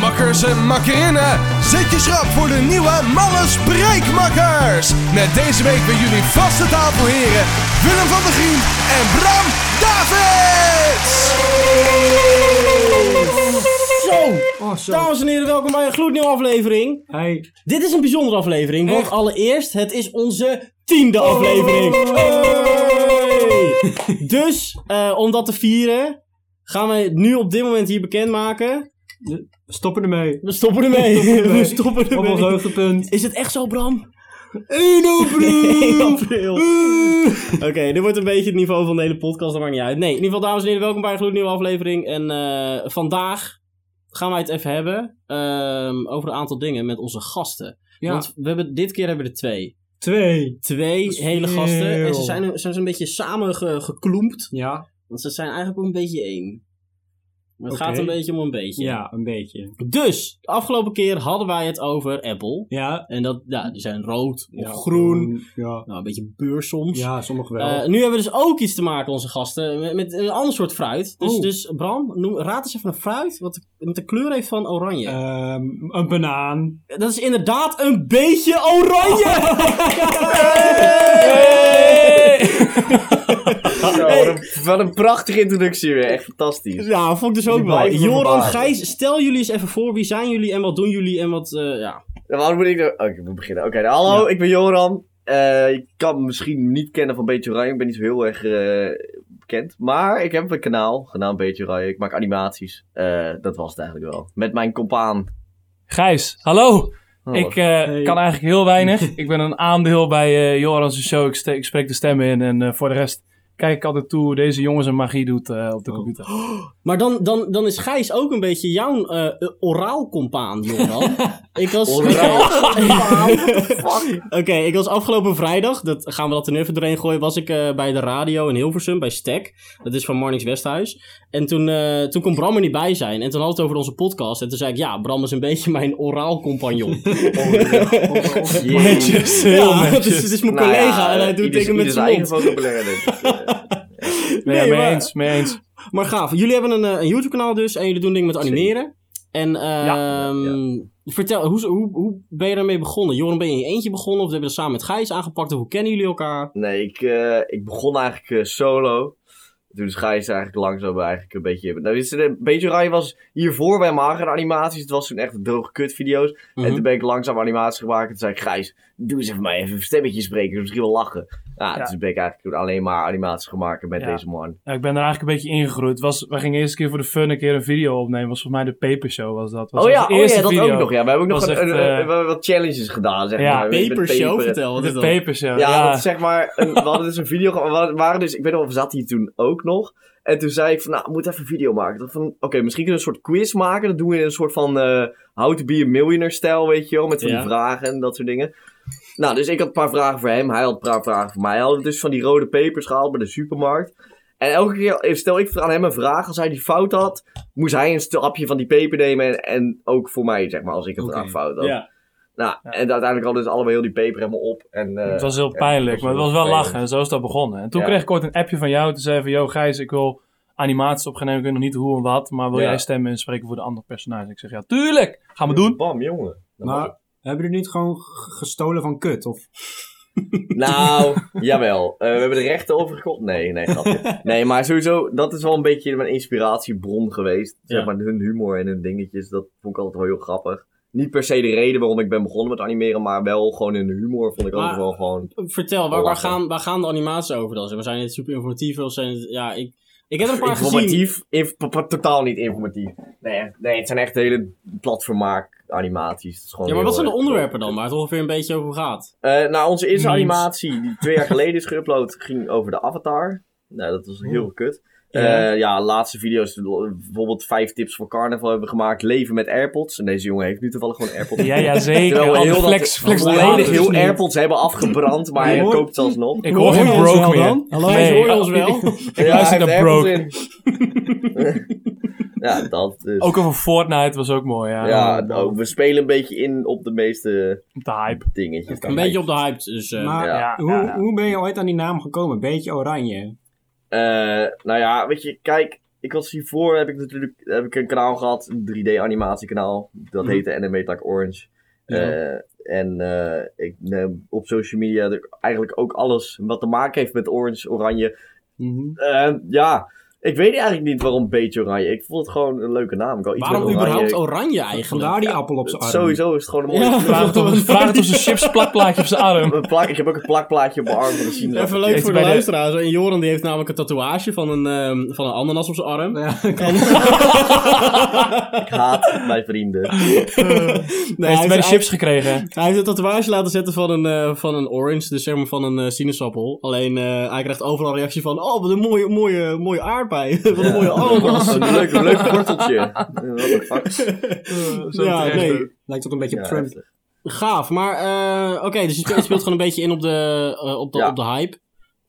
Makkers en makkerinnen, zet je schrap voor de nieuwe Malle Spreekmakkers. Met deze week bij jullie vaste tafelheren Willem van der Grien en Bram Davids. Zo! Oh, zo. Dames en heren, welkom bij een gloednieuwe aflevering. Hey. Dit is een bijzondere aflevering, want Echt? Oh. allereerst, het is onze tiende aflevering. Hey! Dus, eh, om dat te vieren, gaan we het nu op dit moment hier bekendmaken. We stoppen ermee. We stoppen ermee. We stoppen Op ons ermee. hoogtepunt. Is het echt zo, Bram? 1 Nee, april! Eh. april. Oké, dit wordt een beetje het niveau van de hele podcast, dat maakt niet uit. Nee, in ieder geval, dames en heren, welkom bij een gloednieuwe aflevering. En eh, vandaag gaan wij het even hebben ehm, over een aantal dingen met onze gasten. Ja, Want we hebben, dit keer hebben we er twee. twee. Twee is hele veel. gasten. En ze zijn, ze zijn een beetje samen ge- gekloempt. Ja, Want ze zijn eigenlijk ook een beetje één. Maar het Oké. gaat een beetje om een beetje. ja, een beetje. Dus, de afgelopen keer hadden wij het over Apple. Ja. En dat, ja, die zijn rood of ja, groen. Ja, Nou, een beetje beur soms. ja sommige wel. Eh, nu hebben we dus ook iets te maken, onze gasten, met, met een ander soort fruit. Dus, Oh. dus Bram, noem, raad eens even een fruit wat de- met de kleur heeft van oranje. Ehm, een banaan. Dat is inderdaad een beetje oranje! Zo, wat, een, wat een prachtige introductie weer. Echt fantastisch. Ja, vond ik dus ook Die wel. blijven me Joran, verbazen. Gijs, stel jullie eens even voor. Wie zijn jullie en wat doen jullie en wat, eh, ja. Nou, Waarom moet ik nou... Oké, we beginnen. Oké, nou, hallo, ik ben Joran. Eh ik kan me misschien niet kennen van Beetje Oranje. Ik ben niet zo heel erg eh, bekend. Maar ik heb een kanaal genaamd Beetje Oranje. Ik maak animaties. Eh, dat was het eigenlijk wel. Met mijn compaan. Gijs, hallo. Oh, Ik eh, kan eigenlijk heel weinig. ik ben een aandeel bij eh Joran's show. Ik, ste- ik spreek de stemmen in. En eh, voor de rest kijk ik altijd toe hoe deze jongen zijn magie doet eh, op de Oh. computer. Maar dan, dan, dan is Gijs ook een beetje jouw eh oraal compaan, Joran. ik was... Oké, ik was afgelopen vrijdag, dat gaan we dat er nu even doorheen gooien, was ik eh, bij de radio in Hilversum, bij Stek. Dat is van Marnix Westhuis. En toen, eh, toen kon Bram er niet bij zijn. En toen had het over onze podcast. En toen zei ik, ja, Bram is een beetje mijn oraal compagnon. Jeetje. Netjes, heel ja, het netjes. is, het is mijn Nou ja, collega en hij doet ieder- dingen met ieder zijn eigen mond. vocabulaire, denk ik. Eh, Nee, Nee, mee maar- eens, mee eens. Maar gaaf, jullie hebben een, eh, een YouTube-kanaal dus en jullie doen dingen met animeren. En ehm, vertel, hoe, hoe, hoe ben je daarmee begonnen? Joran, ben je in je eentje begonnen of hebben we dat samen met Gijs aangepakt? Of hoe kennen jullie elkaar? Nee, ik, eh, ik begon eigenlijk eh, solo. Toen is Gijs eigenlijk langzaam eigenlijk een beetje... Nou, dit is een beetje raar. Je was hiervoor bij magere animaties. Het was toen echt droge kut video's. Mhm. En toen ben ik langzaam animaties gemaakt. En toen zei ik, Gijs, doe eens even mij even een stemmetje spreken. Misschien wel lachen. Nou, Ja. dus toen ben ik eigenlijk toen alleen maar animaties gemaakt met Ja. deze man. Ja, ik ben er eigenlijk een beetje ingegroeid. Het Was, we gingen eerst een keer voor de fun een keer een video opnemen. was volgens mij de Paper Show was dat. Was oh ja, onze oh, eerste ja dat video. ook nog. Ja. We hebben ook nog Was een, echt, een- een- eh, we hebben wat challenges gedaan, zeg ja, maar. Met- met Paper show, paper. vertel. Wat De is dat? Paper Show, Ja, ja. want zeg maar, een- we hadden dus een video, ge- we hadden- waren dus, ik weet nog, we zaten hier toen ook nog. En toen zei ik van, nou, we moeten even een video maken. Dat van, oké, misschien kunnen we een soort quiz maken. Dat doen we in een soort van eh how to be a millionaire stijl, weet je wel. Met van Ja. die vragen en dat soort dingen. Nou, dus ik had een paar vragen voor hem, hij had een paar vragen voor mij. Hij had dus van die rode pepers gehaald bij de supermarkt. En elke keer, eh, stel ik aan hem een vraag, als hij die fout had, moest hij een stapje van die peper nemen. En, en ook voor mij, zeg maar, als ik een Oké, vraag fout had. Ja. Nou, en uiteindelijk hadden ze allemaal heel die peper helemaal op. En, eh, Het was heel ja, pijnlijk, dat was maar het heel was wel vervelend. lachen. En zo is dat begonnen. En toen Ja. kreeg ik ooit een appje van jou. Toen zei van, yo Gijs, ik wil animaties opgenemen. Ik weet nog niet hoe en wat. Maar wil Ja. jij stemmen en spreken voor de andere personage? Ik zeg, ja, tuurlijk. Gaan we doen. Nou. Bam, jongen. Dat was maar hebben jullie niet gewoon g- gestolen van kut? Of... het. Nou, jawel. Eh, we hebben de rechten overgekocht. Nee, nee, grapje. Nee, maar sowieso, dat is wel een beetje mijn inspiratiebron geweest. Zeg Ja. maar, hun humor en hun dingetjes, dat vond ik altijd wel heel grappig. Niet per se de reden waarom ik ben begonnen met animeren, maar wel gewoon hun humor vond ik Maar- altijd wel gewoon... Vertel, Oh, waar, waar, Lachen. gaan, waar gaan de animaties over dan? Zeg maar, Zijn het super informatief of zijn het... Ja, ik, ik heb er een paar gezien. Informatief, inf- pa- pa- totaal niet informatief. Nee, nee, het zijn echt hele platformaak animaties. Het is gewoon Ja, maar heel wat eh, zijn de erg- onderwerpen dan waar het ongeveer een beetje over gaat? Eh, nou, onze eerste Memes. animatie die twee jaar geleden is geüpload, ging over de avatar. Nou, dat was heel kut. Eh, Ja. ja, laatste video's, eh, bijvoorbeeld vijf tips voor carnaval hebben we gemaakt. Leven met AirPods. En deze jongen heeft nu toevallig gewoon AirPods. Ja, ja, zeker. Terwijl we Al die heel dat- flex, flex Volledig later. heel AirPods hebben afgebrand, maar hij Hoor- koopt zelfs nog. Ik hoor geen je ons broke wel meer. dan? Hallo, nee. hoor je ons wel? Ja, hij luister naar heeft Broke. AirPods in. ja, dat dus. Ook over Fortnite was ook mooi, Oh, ja. ja, nou, we spelen een beetje in op de meeste De hype. dingetjes. Een beetje op de hype. Dus, eh, maar ja, ja, hoe, ja. hoe ben je ooit aan die naam gekomen? Beetje oranje. Eh, nou ja, weet je, kijk, ik was hiervoor, heb ik natuurlijk heb ik een kanaal gehad, een 3D-animatiekanaal. Dat Mhm. heette Anime Tak Orange. Ja. Eh, en eh, ik neem op social media de- eigenlijk ook alles wat te maken heeft met orange, oranje. Mhm. Eh, ja, ik weet eigenlijk niet waarom beetje oranje. Ik vond het gewoon een leuke naam. Ik wou iets Waarom met oranje. überhaupt oranje Vandaar eigenlijk? die appel op zijn arm. Sowieso is het gewoon een mooie... Ja. Vraag het op- vraag het op zijn chips plakplaatje op zijn arm. Een plak, ik heb ook een plakplaatje op mijn arm van de zien. Even leuk Heeft voor de hij bij de- luisteraars. En Joran die heeft namelijk een tatoeage van een, ehm, van een ananas op zijn arm. Ja, Ik haat mijn vrienden. Nee, Heeft hij bij de heeft- chips gekregen. Hij heeft een tatoeage laten zetten van een, eh, van een orange, dus zeg maar van een eh, sinaasappel. Alleen eh, hij krijgt overal reactie van, oh wat een mooie, mooie, mooie aardbei, wat een mooie ananas. Een leuk, leuk worteltje. Eh, What the fuck. Ja, nee, lijkt het een beetje Ja, op Trump. heftig. gaaf. Maar eh, oké, dus je speelt, speelt gewoon een beetje in op de, eh, op, de, Ja. op de hype.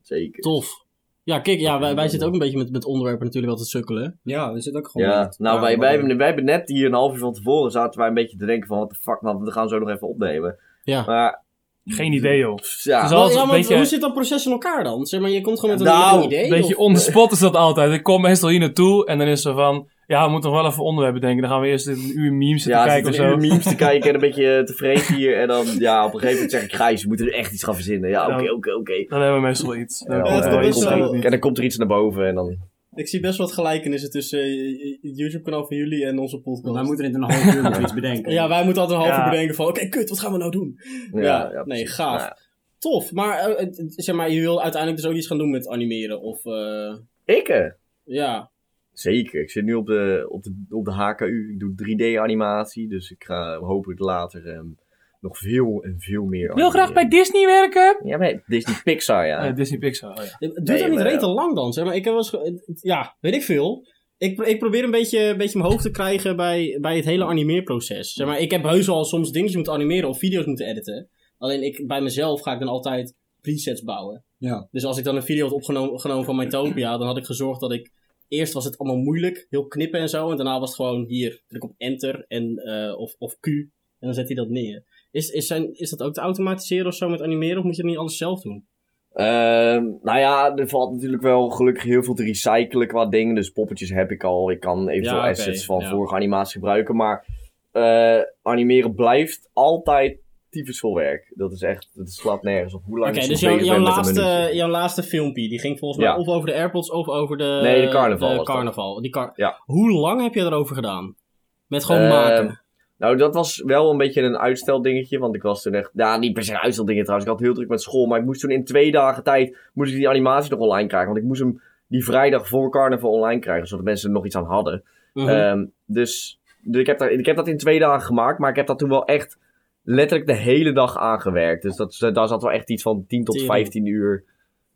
Zeker. Tof. Ja, kijk, ja, wij, wij zitten ook een beetje met, met onderwerpen natuurlijk wel te sukkelen. Ja, er zit ook gewoon... Ja, echt- nou, wij, maar- wij, hebben, wij hebben net hier een half uur van tevoren zaten wij een beetje te denken van... What the fuck, man, we gaan zo nog even opnemen. Ja. Maar, Geen idee, joh. pff, ja. Dus al- Dat is ja, een maar beetje- hoe zit dat proces in elkaar dan? Zeg maar, je komt gewoon met een, Nou, met een idee. Een beetje of- on the spot is dat altijd. Ik kom meestal hier naartoe en dan is er van... Ja, we moeten nog wel even onderwerpen denken. Dan gaan we eerst een uur memes zitten Ja, kijken kijken, of zitten zo. in de memes te kijken en een beetje eh, tevreden hier. En dan, ja, op een gegeven moment zeg ik... Gijs, we moeten er echt iets gaan verzinnen. Ja, Ja. oké, oké, oké. Dan hebben we meestal iets. Dan En dan, komt het er wel eh, is iets komt wel- uit. er- En dan komt er iets naar boven en dan... Ik zie best wat gelijkenissen tussen eh, het YouTube-kanaal van jullie en onze podcast. Wij moeten in een half uur nog iets bedenken. Ja, wij moeten altijd een half Ja. uur bedenken van, oké, kut, wat gaan we nou doen? Ja, Ja, ja, nee, precies. gaaf. Nou, Tof, maar, eh, het- het- zeg maar je wil uiteindelijk dus ook iets gaan doen met animeren of eh, Ik, eh, ja. Zeker. Ik zit nu op de, op de, op de HKU. Ik doe 3D-animatie. Dus ik ga hopelijk later ehm, nog veel en veel meer. Wil graag bij animeren. Disney werken? Ja, maar Disney Pixar, ja. Eh, Disney Pixar, oh ja. Het duurt Nee, ook niet maar ja. reet te lang dan, zeg maar. Ik heb wel eens ge- het- ja, weet ik veel. Ik, pro- ik probeer een beetje, een beetje mijn hoofd te krijgen bij, bij het hele animeerproces. Zeg maar, ik heb heus al soms dingetjes moeten animeren of video's moeten editen. Alleen ik, bij mezelf ga ik dan altijd presets bouwen. Ja. Dus als ik dan een video had opgenomen genomen van Mytopia, dan had ik gezorgd dat ik... Eerst was het allemaal moeilijk, heel knippen en zo. En daarna was het gewoon hier, druk op enter en, eh, of, of Q. En dan zet hij dat neer. Is, is, zijn, is dat ook te automatiseren of zo met animeren? Of moet je dat niet alles zelf doen? Ehm, nou ja, er valt natuurlijk wel gelukkig heel veel te recyclen qua dingen. Dus poppetjes heb ik al. Ik kan eventueel Ja, oké, assets van ja. vorige animaties gebruiken. Maar eh, animeren blijft altijd tyfusvol werk. Dat is echt, het slaat nergens op. Hoe lang Oké, ik dus nog jouw, bezig jouw, ben met een laatste, minuutje. jouw laatste filmpje, die ging volgens mij Ja. of over de AirPods of over de... Nee, de carnaval was dat. carnaval. Die car- Ja. Hoe lang heb je erover gedaan? Met gewoon Ehm, maken. Nou, dat was wel een beetje een uitsteldingetje. Want ik was toen echt. Ja, niet per se een uitsteldingetje trouwens. Ik had heel druk met school. Maar ik moest toen in twee dagen tijd. Moest ik die animatie nog online krijgen. Want ik moest hem die vrijdag voor carnaval online krijgen. Zodat mensen er nog iets aan hadden. Mhm. Ehm, dus dus ik, heb daar, ik heb dat in twee dagen gemaakt. Maar ik heb dat toen wel echt letterlijk de hele dag aangewerkt. Dus dat, daar zat wel echt iets van 10 tot Tering. 15 uur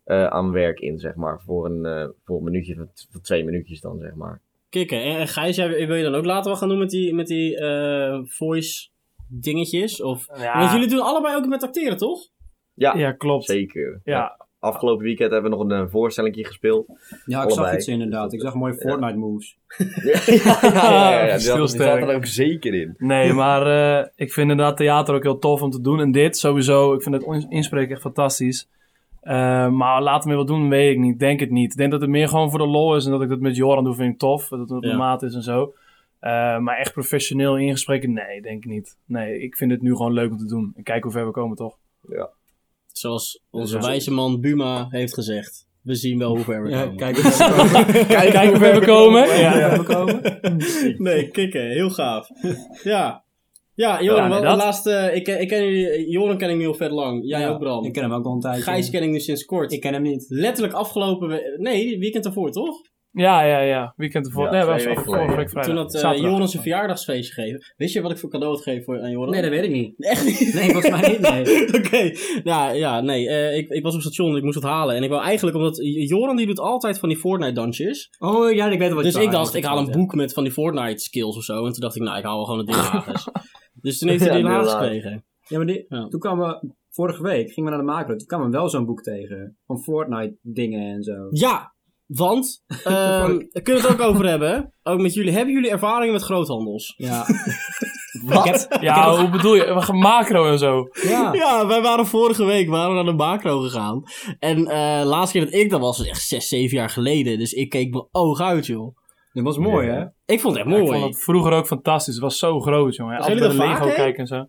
eh, aan werk in, zeg maar. Voor een, eh, voor een minuutje, van t- van twee minuutjes dan, zeg maar. Kikken. En, en Gijs, jij, wil je dan ook later wat gaan doen met die, met die eh, voice dingetjes? Of... Want Ja, jullie doen allebei ook met acteren, toch? Ja, ja klopt. zeker. Ja, Afgelopen weekend hebben we nog een eh, voorstelling gespeeld. Ja, ik zag Allebei. iets inderdaad. Ik zag mooie Fortnite moves. ja, ja, ja, ja, ja. Die had- die Heel zat sterk. er ook zeker in. nee, maar eh, ik vind inderdaad theater ook heel tof om te doen. En dit sowieso, ik vind het ons- inspreken echt fantastisch. Eh, maar laten we wat doen, weet ik niet. Denk het niet. Ik denk dat het meer gewoon voor de lol is en dat ik dat met Joran doe, vind ik tof. Dat het op de Ja. maat is en zo. Eh, maar echt professioneel ingespreken, nee, denk ik niet. Nee, ik vind het nu gewoon leuk om te doen. En kijk hoe ver we komen, toch? Zoals onze Ja. wijze man Buma heeft gezegd. We zien wel hoe ver we Ja, komen. kijk hoe ver we komen. Kijk, hoe ver we komen. Kijk hoe Ja. ver we komen. Nee, kikken. Heel gaaf. Ja. Ja, Joran, Ja, wel dat. de laatste... Ik, ken- ik ken jullie... Joran ken ik nu al vet lang. Jij Ja, ook, Bram. Ik ken hem ook al een tijdje. Gijs ken ik nu sinds kort. Ik ken hem niet. Letterlijk afgelopen... we- Nee, weekend ervoor, toch? Ja, ja, ja. Weekend ervoor. Ja, nee, twee was weken vorige geleden. week vrijdag. Toen had eh, Zaterdag. Joran zijn verjaardagsfeestje gegeven. Wist je wat ik voor cadeau had gegeven voor, aan Joran? weet ik niet. Echt niet? Nee, volgens mij niet, nee. Oké, Nou, ja, ja, nee. eh, ik, ik was op station, ik moest het halen. En ik wou eigenlijk, omdat Joran die doet altijd van die Fortnite-dansjes. Oh ja, ik weet wel wat Dus je ik dacht, ik haal een boek met van die Fortnite skills of zo. En toen dacht ik, nou, ik haal wel gewoon het Deelhagens. dus toen heeft hij Ja, de Deelhagens Deelhagens. gekregen. Ja, maar die- Ja. toen kwamen we... Vorige week gingen we naar de macro. Toen kwamen we wel zo'n boek tegen. Van Fortnite dingen en zo. Ja, want, ehm we kunnen we het ook over hebben. Ook met jullie. Hebben jullie ervaringen met groothandels? Ja. Ja, hoe bedoel je? We gaan Macro en zo. Ja. Ja, wij waren vorige week waren we naar de macro gegaan. En eh laatste keer dat ik daar was, was echt 6, 7 jaar geleden. Dus ik keek mijn oog uit, joh. Dat was mooi, Ja. hè? Ik vond het echt Ja, mooi. ik vond dat vroeger ook fantastisch. Het was zo groot, jongen. Zijn Altijd jullie naar er vaak Lego heen? kijken en zo.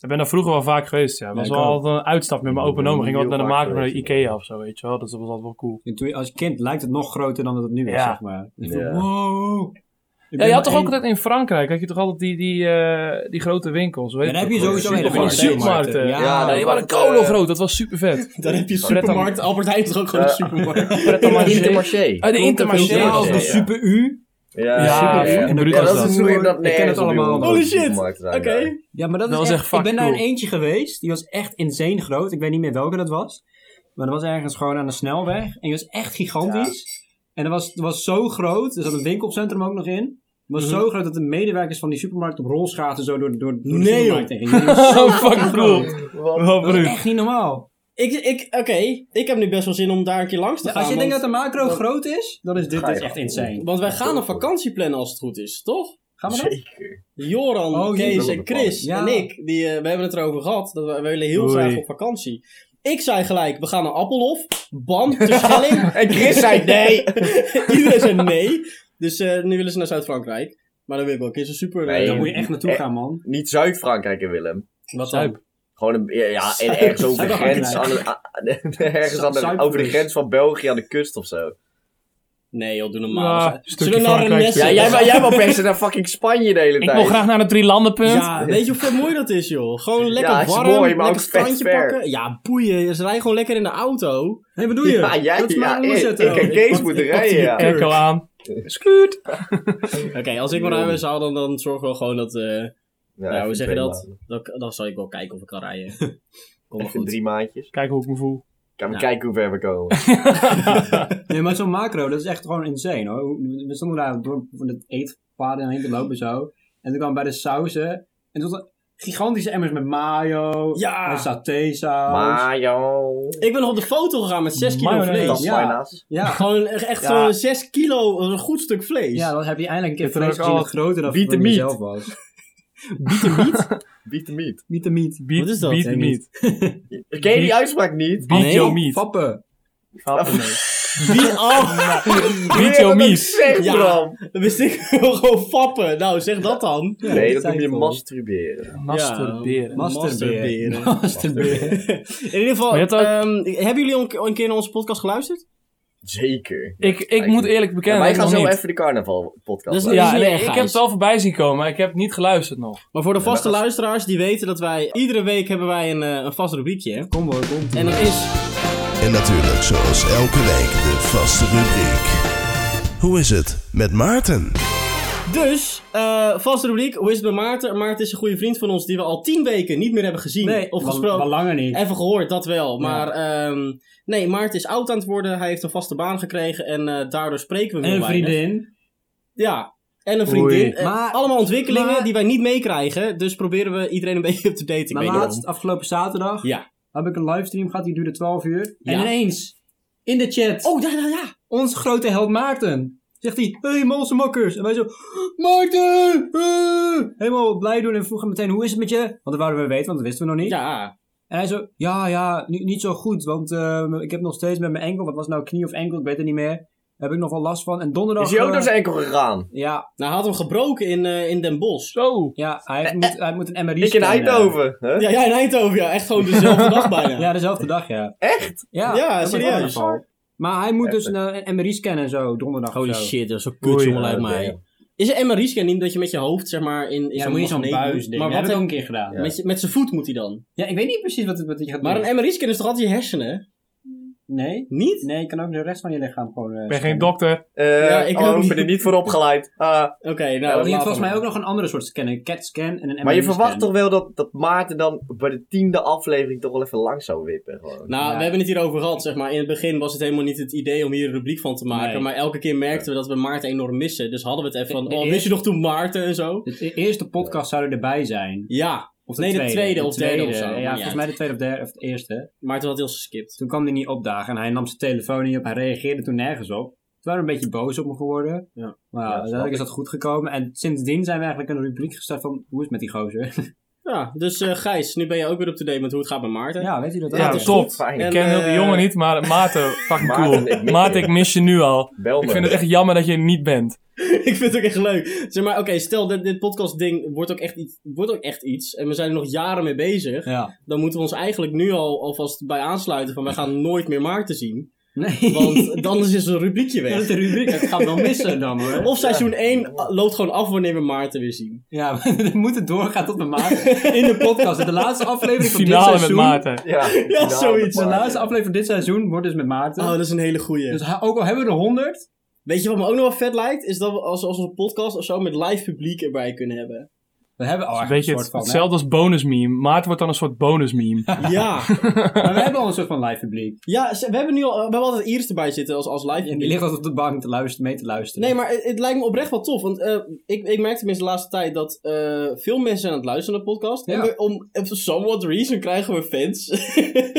Ik ben daar vroeger wel vaak geweest, ja. Het was ik wel ook. altijd een uitstap met mijn Ik open ben oom. We gingen heel altijd naar de vaak maker naar de geweest, Ikea of zo, weet je wel. Dus dat was altijd wel cool. En toen, als kind lijkt het nog groter dan dat het nu is, Ja. zeg maar. Ik Ja. dacht, wow. Ik ben Ja, je maar had toch één- ook altijd in Frankrijk, had je toch altijd die, die, eh, die grote winkels, weet Ja, je daar heb je toch? sowieso Van hele die grote supermarkten. Ja, Ja, Ja, nee, die waren dat, eh, kolo groot, dat was super vet. Dan heb je Fred supermarkt. Albert Heijn is toch ook gewoon een supermarkt. Intermarché. Ah, de Intermarché. Ja, Ja, of de ja. Super U. Ja, Ja, super. en Ja, Brutus dat was is dat. hoe je dat Ik ken het allemaal. Holy shit. Oké. Ja, maar dat, Dat is was echt, echt fucking Ik ben daar in cool. eentje geweest. Die was echt insane groot. Ik weet niet meer welke dat was. Maar dat was ergens gewoon aan de snelweg. En die was echt gigantisch. En dat was, dat was zo groot. Er zat een winkelcentrum ook nog in. Het was Mhm. zo groot dat de medewerkers van die supermarkt op rolschaten zo door, door, door de Nee, supermarkt heen gingen. Die was Zo fucking cool. Wel Dat is bruut. echt niet normaal. Ik, ik, oké, ik heb nu best wel zin om daar een keer langs te gaan. Als je denkt dat want, de macro groot is, dan is dit Ga je dus echt gewoon. insane. want wij gaan een vakantie plannen als het goed is, toch? Gaan we dat? Joran, Oh, Kees jee. en Chris Ja. en ik, die, eh, we hebben het erover gehad. Dat we, we willen heel Oei. graag op vakantie. Ik zei gelijk, we gaan naar Appelhof. Bam, de Schelling. En Chris zei nee. Iedereen zei nee. Dus eh, nu willen ze naar Zuid-Frankrijk. Maar dan wil ik wel een keer zo'n super... eh, Nee, Daar moet je echt naartoe Eh, gaan, man. Niet Zuid-Frankrijk en Willem. wat dan? Zuip. Gewoon een, ja, ja, en ergens over de Zuid-Frankrijk. grens. Aan de, aan- ergens aan de, Zuid-Zuid over de dus. grens van België aan de kust of zo. Nee joh, doe normaal. Ja, stukje Zullen we naar Frankrijk. Renesse? Ja, jij, wou- jij wou best naar fucking Spanje de hele Ik tijd. wil graag naar het Drielandenpunt. Ja, weet je hoe mooi dat is, joh? Gewoon lekker Ja, is warm, mooi, maar lekker ook vet strandje ver. pakken. Ja, boeien. Ze rijden gewoon lekker in de auto. Nee, bedoel je? Ja, jij, Dat is ja, maar ik, omzetten. ik en Kees moeten rijden, ja. Airco aan. Scoot. Oké, als ik maar naar huis haal, dan, dan zorgen we gewoon dat... eh, Ja, nou, hoe even zeg je twee dat? maanden. Dan, dan zal ik wel kijken of ik kan rijden. Kom maar Even goed. drie maandjes. Kijk hoe ik me voel. Gaan we Ja. kijken hoe ver we komen. Nee, maar zo'n macro, dat is echt gewoon insane hoor. Hoe- We stonden daar door van het eetpaden heen te lopen zo. En toen kwam bij de sauzen. En toen hadden gigantische emmers met mayo. Ja. En satésaus. Maar joh. Ik ben nog op de foto gegaan met 6 kilo Mayonaise. vlees. Dat ja. bijnaast. Ja. Gewoon echt echt Ja. gewoon 6 kilo, een goed stuk vlees. ja, dan heb je eindelijk een keer Zit er vlees ook gezien al dat groter dan Beat the van meat. jezelf was. Beat the meat. Beat the meat. Beat, Wat is dat? Beat Weet me niet. meat. Ken je die uitspraak niet? Beat Nee. your meat. Pappen. Vappen, nee. Wie, oh, Beat your meat. Zeg, Ja. Bram. dan wist ik gewoon fappen. Nou, zeg dat dan. Nee, dat dat noem zei je ik al. masturberen. Masturberen. Masturberen. Masturberen. Masturberen. In ieder geval, Maar je hebt ook- ehm, hebben jullie al een- al een keer naar onze podcast geluisterd? Zeker. Ik, ik moet eerlijk bekennen, wij ik gaan nog zo niet. even de carnaval podcast. Dus maken. niet- Ja, Dat is nee, erg, ik heb Gijs. het wel voorbij zien komen, maar ik heb niet geluisterd nog. Maar voor de vaste maar dat luisteraars, die weten dat wij... Iedere week hebben wij een, eh, een vast rubriekje. Kom hoor, kom. En dat is... En natuurlijk, zoals elke week, de vaste rubriek. Hoe is het met Maarten? Dus, eh vaste rubriek, hoe is het met Maarten? Maarten is een goede vriend van ons die we al tien weken niet meer hebben gezien Nee, of maar- gesproken. Maar langer niet. Even gehoord, dat wel. Maar ehm, nee, Maarten is oud aan het worden. Hij heeft een vaste baan gekregen en eh, daardoor spreken we En hem een heel weinig. vriendin. Ja, en een Oei. vriendin. Eh, Maar- allemaal ontwikkelingen maar- die wij niet meekrijgen. Dus proberen we iedereen een beetje up to date. Ik Maar weet niet laatst, waarom. afgelopen zaterdag, Ja. heb ik een livestream gehad. Die duurde 12 uur. Ja. En ineens, in de chat. Oh, ja, ja, ja. onze grote held Maarten. Zegt hij, hey Molse Makkers. En wij zo, Maarten! eh." Helemaal blij doen en vroegen meteen, hoe is het met je? Want dat wouden we weten, want dat wisten we nog niet. Ja, En hij zo, ja, ja, ni- niet zo goed. Want eh, ik heb nog steeds met mijn enkel, wat was nou knie of enkel, ik weet het niet meer. Heb ik nog wel last van. En donderdag... Is hij ook eh, door zijn enkel gegaan? Ja, nou, hij had hem gebroken in, eh, in Den Bosch. Zo. ja hij, heeft- moet, hij moet een MRI Ik in scannen. Eindhoven. hè? Ja, ja, in Eindhoven, ja. Echt gewoon dezelfde dag bijna. Ja, dezelfde dag, ja. Echt? Ja, Ja, dat was serieus. een ongeval. Maar hij moet dus een, een MRI scannen en zo, donderdag of Holy zo. shit, dat is een Oei, kut jongen lijkt ja, mij. damn. Is een MRI-scan niet dat je met je hoofd, zeg maar, in, in Ja, dan moet je zo'n magneet buis moet? ding. Maar wat heb ik ook dan? een keer gedaan. Ja. Met, je- met zijn voet moet hij dan. Ja, ik weet niet precies wat, het- wat hij gaat doen. Maar een MRI-scan is toch altijd je hersenen? Nee? Niet? Nee, je kan ook de rest van je lichaam gewoon... eh, Ik ben geen scannen. dokter. Eh, Ja, ik oh, ook ik ben niet. er niet voor opgeleid. Ah, Oké, nou. Ja, Je hebt laten volgens we mij ook nog een andere soort scan, een CAT-scan en een maar je MRI-scan. verwacht toch wel dat, dat Maarten dan bij de tiende aflevering toch wel even lang zou wippen. Gewoon. Nou, Ja. we hebben het hierover gehad, zeg maar. In het begin was het helemaal niet het idee om hier een rubriek van te maken. Nee. Maar elke keer merkten we dat we Maarten enorm missen. Dus hadden we het even van, De- de oh, wist eerste- je nog toen Maarten en zo? De e- eerste podcast zou er erbij zijn. Ja. Of nee, de tweede, of derde of zo. Ja, Ja, volgens mij de tweede of derde of de eerste. Maarten had heel geskipt. Toen kwam hij niet opdagen en hij nam zijn telefoon niet op. Hij reageerde toen nergens op. Toen waren we een beetje boos op me geworden. Ja. Maar Ja, uiteindelijk snap is dat goed gekomen. En sindsdien zijn we eigenlijk een rubriek gestart van hoe is het met die gozer? Ja, dus eh, Gijs, nu ben je ook weer up-to-date met hoe het gaat met Maarten. Ja, weet u dat? Ja, ook? is top. goed, fijn. Ik En, ken heel de eh, jongen niet, maar Maarten, fucking Maarten, ik cool. mis Maarten, je. ik mis je nu al. Bel me. Ik vind het echt jammer dat je er niet bent. ik vind het ook echt leuk. Zeg maar, oké, stel dit, dit podcast ding wordt ook, echt iets, wordt ook echt iets. En we zijn er nog jaren mee bezig. Ja. Dan moeten we ons eigenlijk nu al alvast bij aansluiten van wij gaan nooit meer Maarten zien. Nee. Want dan is dus een rubriekje dat is weg. de rubriek. Het gaat wel missen dan hoor. Of seizoen 1 loopt gewoon af wanneer we Maarten weer zien. Ja, maar dan moet het doorgaan tot de maart. In de podcast. De laatste aflevering van dit Finale met seizoen. Maarten. Ja, Ja, zoiets. De laatste aflevering van dit seizoen wordt dus met Maarten. Oh, dat is een hele goeie. Dus ha- ook al hebben we er 100. Weet je wat me ook nog wel vet lijkt? Is dat we als, als een podcast of zo met live publiek erbij kunnen hebben. We hebben al Een echt een beetje soort het- van. hè? hetzelfde als bonus meme. Maarten wordt dan een soort bonus meme. Ja, Maar we hebben al een soort van live publiek. ja ze- we hebben nu al, we hebben altijd Iris erbij zitten als, als live En die publiek. ligt altijd op de bank te luisteren, mee te luisteren. Nee, maar het, het lijkt me oprecht wel tof. Want eh, ik, ik merk tenminste de laatste tijd dat eh, veel mensen zijn aan het luisteren naar de podcast. En Ja. we, om eh, for somewhat reason krijgen we fans.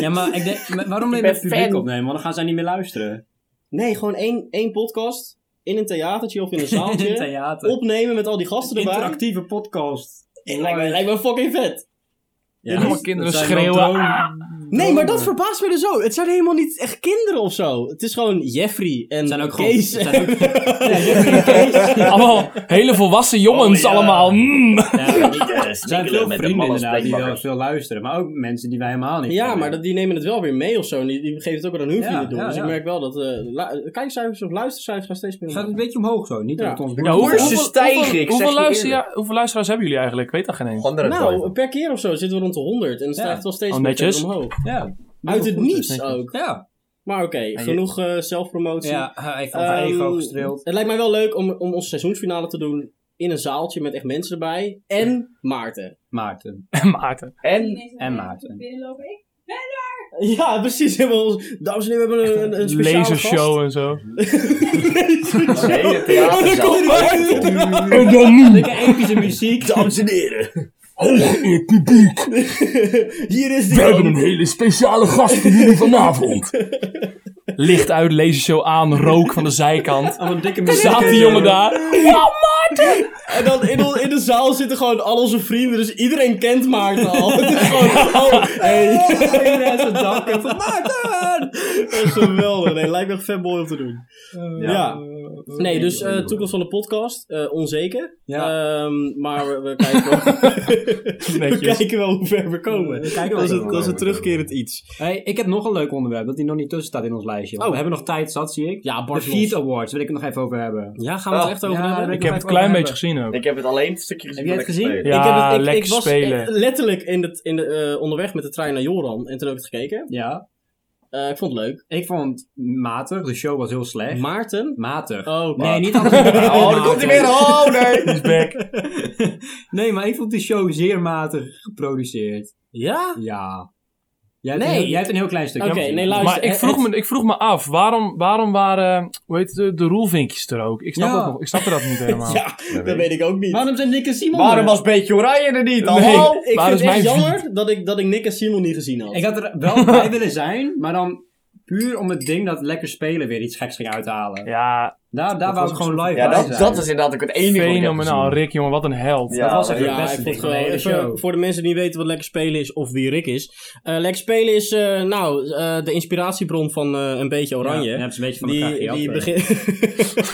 Ja, maar ik denk, maar waarom neem je ben het publiek fan. opnemen? Want dan gaan zij niet meer luisteren. nee, gewoon één, één podcast. In een theatertje of in een In het zaaltje. theater. opnemen met al die gasten erbij. Interactieve podcast. Eh, Lijkt me, lijkt me fucking vet. Ja, allemaal kinderen dat zijn wel schreeuwen. dromen. "Ah!" Nee, maar dat verbaast me dus zo. Het zijn helemaal niet echt kinderen of zo. Het is gewoon Jeffrey en Het zijn ook gewoon- Kees. het zijn ook- Allemaal hele volwassen jongens Oh, ja. allemaal. Mm. Ja, Er Er zijn veel vrienden inderdaad die wel veel luisteren. Maar ook mensen die wij helemaal niet Ja, kennen. maar dat, die nemen het wel weer mee of zo. En Die, die geven het ook weer aan hun Ja, vrienden door. ja, dus ik ja. merk wel dat eh, lu- kijkcijfers of luistercijfers gaan steeds meer Het omhoog. gaat een beetje omhoog zo. Niet Ja. dat het ons Ja, wordt. hoeveel, Hoeveel- hoeveel, stijgen, ik hoeveel, zeg je luisteraar- eerlijk. hoeveel luisteraars hebben jullie eigenlijk? Ik weet dat geen eens. Nou, per keer of zo zitten we rond de 100 en het Ja. stijgt wel steeds Oh, meer netjes. verder omhoog. Ja. Uit het goed, dus, niets denk ik. ook. Ja. Maar oké, genoeg eh, zelfpromotie. Ja, hij heeft over Ehm, ego gestreeld. Het lijkt mij wel leuk om, om ons seizoensfinale te doen in een zaaltje met echt mensen erbij. En Maarten. Maarten. En Maarten. En En Maarten. Binnenlopen. Ik Ja, precies. Helemaal ons- Dames en heren, we hebben een, een, een speciale Lasershow en zo. gast. de hele Oh, daar theaterzaal. komt hij weer. En dan nu. Dikke epische muziek. Dames en heren. Hier is die. hele speciale gast voor jullie vanavond. Licht uit, lasershow aan, rook van de zijkant. Oh, Allemaal dikke Staat die jongen daar. Wauw, Maarten! En dan in, on- in de zaal zitten gewoon al onze vrienden, dus iedereen kent Maarten al. Het is gewoon, oh, hey. Iedereen is een danken van Maarten. Dat is geweldig. Nee, lijkt me echt vet mooi om te doen. ja. Nee, dus eh, toekomst van de podcast, eh, onzeker. Ja. Ehm, maar we, we kijken wel, we Netjes. kijken wel hoe ver we komen. We kijken wel dat is, hoe het, ver we dat is een komen. terugkerend iets. Hey, ik heb nog een leuk onderwerp dat die nog niet tussen staat in ons lijstje. Oh. We hebben nog tijd zat, zie ik. Ja, De Bart Feed Awards wil ik het nog even over hebben. Ja, gaan we het Oh, echt over ja, hebben? daar Ik heb het een klein beetje gezien ook. Ik heb het alleen het stukje Heb gezien. jij wat het ik gezien? speel. ik heb Ja, het, ik, lekker ik was spelen. echt letterlijk in het, in de, eh, onderweg met de trein naar Joran en toen heb ik het gekeken. Ja. Eh, ik vond het leuk. Ik vond het matig. De show was heel slecht. Maarten? matig. Oh, oké. nee, niet altijd. Oh, daar komt hij weer. Oh, nee. He's back. nee, maar ik vond die show zeer matig geproduceerd. Ja? Ja. Jij hebt, Nee. een, heel- jij hebt een heel klein stukje. Oké, gezien. nee, luister. Maar ik het- vroeg, het- me, ik vroeg me af, waarom, waarom waren hoe heet het, de, de roelvinkjes er ook? Ik snap, Ja. dat, nog- ik snap dat niet helemaal. Ja, dat weet ik ook niet. Waarom zijn Nick en Simon Waarom er? was Beetje Oranje er niet? Nee. Hallo? ik waar vind is het echt mijn jammer dat ik, dat ik Nick en Simon niet gezien had. Ik had er wel bij willen zijn, maar dan puur om het ding dat lekker spelen weer iets geks ging uithalen. Ja, Daar, daar wou ik gewoon live Ja, bij dat, zijn. dat is inderdaad ook het enige wat ik heb fenomenaal. gezien. Rick, jongen, wat een held. Ja, dat was echt ja, het Ja, beste ik vond ding het van wel de hele show. even voor de mensen die niet weten wat lekker spelen is of wie Rick is. Eh, lekker spelen is eh, nou eh, de inspiratiebron van eh, een beetje Ja, oranje. dan hebben ze een beetje van elkaar die gejat, eh. die hè. begint.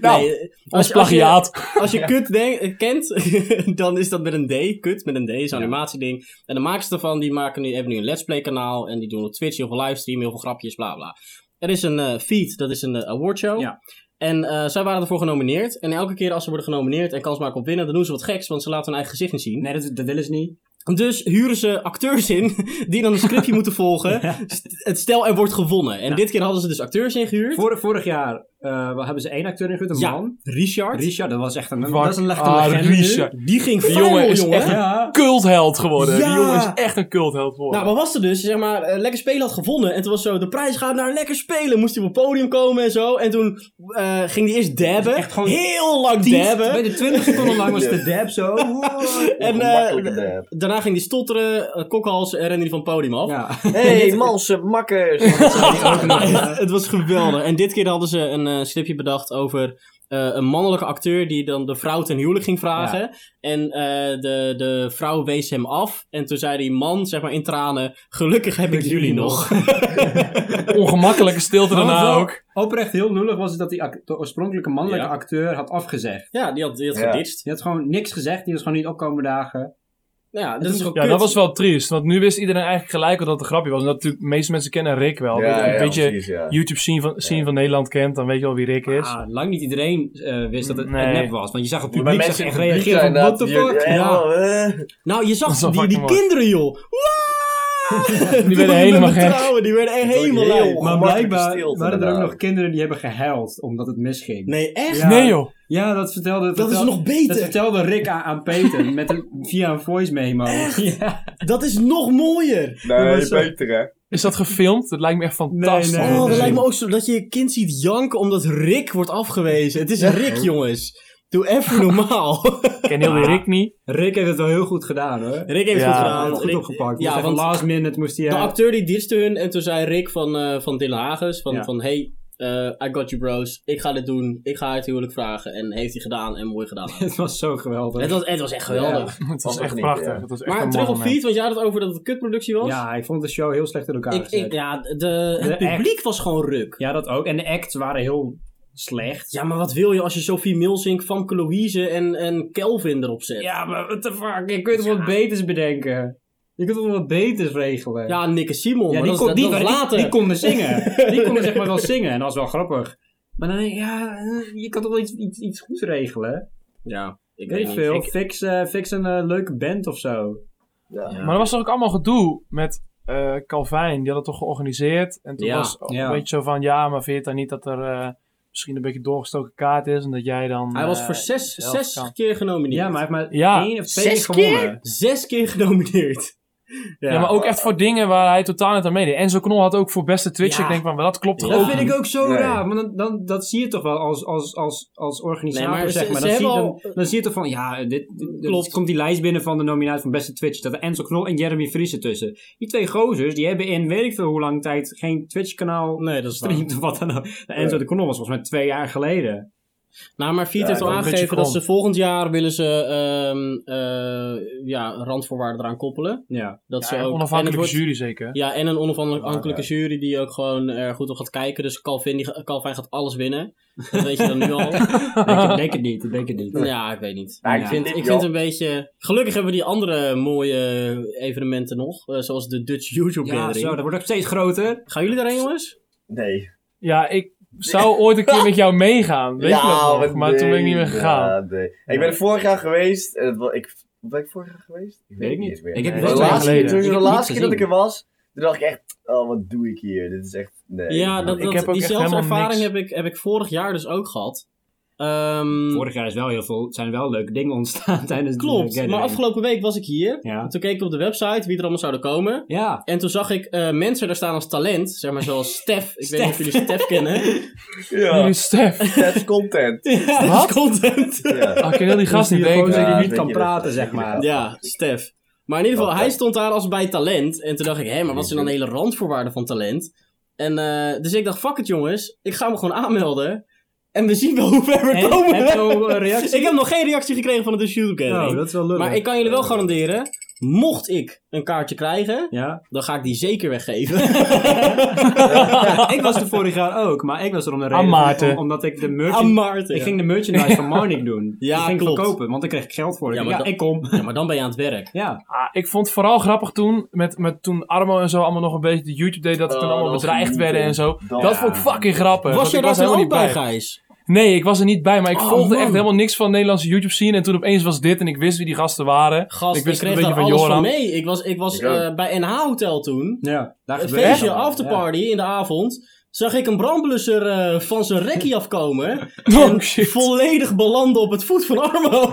Nou, Ons als je- plagiaat. Als je kut denk- eh, kent, dan is dat met een D. Kut met een D is een animatieding. En de makers daarvan die maken nu, hebben nu een Let's Play kanaal. En die doen op Twitch heel veel livestream, heel veel grapjes, bla bla. Er is een eh feed, dat is een eh, awardshow. Ja. En eh, zij waren ervoor genomineerd. En elke keer als ze worden genomineerd en kans maken op winnen, dan doen ze wat geks, want ze laten hun eigen gezicht niet zien. Nee, dat, dat willen ze niet. Dus huren ze acteurs in die dan een scriptje moeten volgen. St- Het stel er wordt gewonnen. En dit keer hadden ze dus acteurs ingehuurd. Vorig, vorig jaar eh, hebben ze één acteur ingehuurd, een Ja. man. Richard. Richard, dat was echt een, Fuck. dat is een echte Ah, legende nu. Richard. Die ging Die viral, jongen is jongen. echt een Ja. cultheld geworden. Ja. Die jongen is echt een cultheld geworden. Nou, wat was er dus? Zeg maar, eh, Lekker Spelen had gewonnen. En toen was zo, de prijs gaat naar Lekker Spelen. Moest hij op het podium komen en zo. En toen eh, ging hij eerst dabben. Echt gewoon Heel lang dabben. Bij de 20 seconden lang was de dab zo. En eh, Ongemakkelijke dab. daarna ging hij stotteren, eh, kokhals en rende hij van het podium af. Ja. hey, malse makkers. het was geweldig. En dit keer hadden ze een eh, slipje bedacht over eh, eh, een mannelijke acteur die dan de vrouw ten huwelijk ging vragen. En eh, de, de vrouw wees hem af. En toen zei die man, zeg maar in tranen, gelukkig heb ik jullie nog. Ongemakkelijke stilte Maar daarna wel ook. Oprecht heel nodig was het dat die act- de oorspronkelijke mannelijke Ja. acteur had afgezegd. ja, die had, die had Ja. geditcht. Die had gewoon niks gezegd, die was gewoon niet opkomen dagen. Nou Ja, dat Het is is toch Ja, dat was wel triest. Want nu wist iedereen eigenlijk gelijk wat dat een grapje was. En dat natuurlijk de meeste mensen kennen Rick wel. Ja, Dat- ja, een beetje precies, ja. YouTube scene van, scene van Nederland kent, dan weet je wel wie Rick is. Ah, lang niet iedereen eh, wist dat het Nee. een nep was. Want je zag het Bij publiek mensen zag echt in het publiek reageren van zijn what the inderdaad fuck. die- Ja. ja, eh. Nou, je Dat is zag wel die, fucking die mooi. kinderen, joh. Wow! Die werden helemaal gek. Die werden echt Dat is helemaal heel lui. goed. Maar Ongemakkelijke blijkbaar stilte, waren er ook inderdaad. nog kinderen die hebben gehuild omdat het misging. Nee, echt? Ja. Nee joh. Ja, dat vertelde... Dat is vertel- nog beter. Dat vertelde Rick aan, aan Peter met een, via een voice memo. Ja. Dat is nog mooier. Dat Nee, was zo- beter hè. Is dat gefilmd? Dat lijkt me echt fantastisch. Dus nee, om te Oh, dat zien. lijkt me ook zo dat je je kind ziet janken omdat Rick wordt afgewezen. Het is Rick, jongens. Doe even normaal. Ik ken heel die Rick niet. Rick heeft het wel heel goed gedaan hoor. Rick heeft Ja, het goed Hij gedaan. heeft het goed Rick- opgepakt. Ja, van want last minute moest hij... de eh, acteur die ditchte hun en toen zei Rick van, eh van Dylan Hagens van, Ja. van hey, eh, I got you bros. Ik ga dit doen. Ik ga het huwelijk vragen. En heeft hij gedaan en mooi gedaan. Het was zo geweldig. het, was, het was echt geweldig. Het was Mag echt ook niet, prachtig. ja. Het was echt Maar een terug mooi op moment. Fiet, want jij had het over dat het een kutproductie was. Ja, ik vond de show heel slecht in elkaar Ik, gezet. ik, ja, de, het De act. publiek was gewoon ruk. Ja, dat ook. En de acts waren heel slecht. Ja, maar wat wil je als je Sophie Milsink, Famke Louise en, en Kelvin erop zet? Ja, maar what the fuck? Je kunt wel wat beters bedenken. Je kunt wel wat beters regelen. Ja, Nick en Simon. Ja, maar die, dat, kon, is- dat, die, dat is die- later. die konden zingen. Die konden zeg maar wel zingen. En dat was wel grappig. Maar dan denk ik, ja, eh, je kan toch wel iets, iets, iets goeds regelen? Ja, ik Weet ik niet. veel. Ik- Fix, eh, fix een eh, leuke band of zo. Ja. Maar er was toch ook allemaal gedoe met eh Calvin. Die had het toch georganiseerd. En toen Ja, was ook ja. een beetje zo van... Ja, maar vind je dan niet dat er eh, misschien een beetje doorgestoken kaart is? En dat jij dan... Hij was eh, voor zes, zelf zes kan. keer genomineerd. Ja, maar hij heeft maar Ja. één of twee zes keer gewonnen. keer? Zes keer genomineerd. Ja, maar ook echt voor dingen waar hij totaal niet aan meedeed. Enzo Knol had ook voor beste Twitch. Ja. Ik denk van, maar dat klopt toch Ja. ook Dat vind niet? ik ook zo Nee. raar. Maar dan, dan, dat zie je toch wel als, als, als, als organisator, Nee, maar ze- zeg maar. ze Dan zie, je, hebben dan, dan zie je toch van, ja, dit, dit- dit- Klopt. komt die lijst binnen van de nominatie van beste Twitch. Dat er Enzo Knol en Jeremy Vries ertussen. Die twee gozers, die hebben in weet ik veel hoe lang tijd geen Twitch-kanaal Nee, dat is waar. streamt of wat dan ook. Enzo de Knol was volgens mij twee jaar geleden. Nou, maar Fiet Ja, heeft al ik ben een aangegeven beetje dat ze volgend jaar willen ze ehm, eh, ja, randvoorwaarden eraan koppelen. Ja. Dat Ja, ze ook, en het onafhankelijke wordt- jury zeker. Ja, en een Ah, onafhankelijke jury die ook gewoon er goed op gaat kijken. Dus Calvin, die, ga- Calvin gaat alles winnen. Dat weet je dan nu al. Ik ik denk het niet, ik denk het niet. Ja, ik weet niet. Ja, ik ik vind vind, dit ik wel- vind het een beetje... Gelukkig hebben we die andere mooie evenementen nog. eh, zoals de Dutch YouTube Ja, Gathering. zo, dat wordt ook steeds groter. Gaan jullie daarheen, jongens? Nee. Ja, ik zou ooit een keer met jou meegaan. Weet je dat nog? Maar toen ben ik niet meer nee, gegaan. ja, nee. Ik ben er vorig jaar geweest. En het, wa- ik, ben ik vorig jaar geweest? Ik Weet ik niet. eens meer. Ik heb best de wel laatste, geleden. toen- Ik de heb het laatste niet keer dat ik er gezien. was, toen dacht ik echt, oh, wat doe ik hier? Dit is echt, nee. Ja, dat, Ik dat, heb ook echt diezelfde helemaal ervaring niks. heb ik, heb ik vorig jaar dus ook gehad. Ehm, Vorig jaar is wel heel veel, zijn wel leuke dingen ontstaan tijdens de Klopt, maar gathering. afgelopen week was ik hier. Ja. Toen keek ik op de website wie er allemaal zouden komen. Ja. En toen zag ik eh, mensen daar staan als talent. Zeg maar zoals Stef. Ik weet niet of Stef. jullie Stef kennen. Jullie Ja, Stef. dat is content. Ja, Wat? dat is content. Ja. Ah, ik ken heel die gast niet. Die denk ik. gozer Ja, die niet weet kan je, praten, dat- zeg maar. Ja, Stef. Maar in ieder geval, Oké. hij stond daar als bij talent. En toen dacht ik, hé, maar wat zijn dan de hele randvoorwaarden van talent? En eh, dus ik dacht, fuck het jongens, ik ga me gewoon aanmelden. En we zien wel hoe ver we En, komen. heb je al een reactie? Ik heb nog geen reactie gekregen van de Dus YouTube Gathering. Oh, dat is wel leuk. Maar ik kan jullie wel garanderen, mocht ik een kaartje krijgen, Ja. dan ga ik die zeker weggeven. ik was er vorig jaar ook, maar ik was er om de reden. Aan Maarten. om- omdat ik de Aan merchandise. Maarten. Ik ging de merchandise van Marnik doen. Ja, ik ging klopt. verkopen, want dan kreeg ik geld voor. Ja, Ja, maar ja dat- ik kom. Ja, maar dan ben je aan het werk. Ja. Ah, ik vond het vooral grappig toen, met, met toen Armo en zo allemaal nog een beetje de YouTube deed, dat we Oh, toen allemaal dat was bedreigd genieten. werden en zo. Dat- Dat vond ik fucking grappig. want eh, was jij ik daar was toen helemaal ook bij, niet bij. Gijs? Nee, ik was er niet bij, maar ik Oh, volgde echt man. helemaal niks van de Nederlandse YouTube scene. En toen opeens was dit en ik wist wie die gasten waren. Gast, ik, ik wist het kreeg daar alles Joram. van mee. Ik was, ik was Ik ook. eh, bij NH Hotel toen. Ja, daar Een gebeurt feestje, het wel. afterparty in de avond. Zag ik een brandblusser eh, van zijn rekkie afkomen. Oh en shit. volledig belanden op het voet van Armo.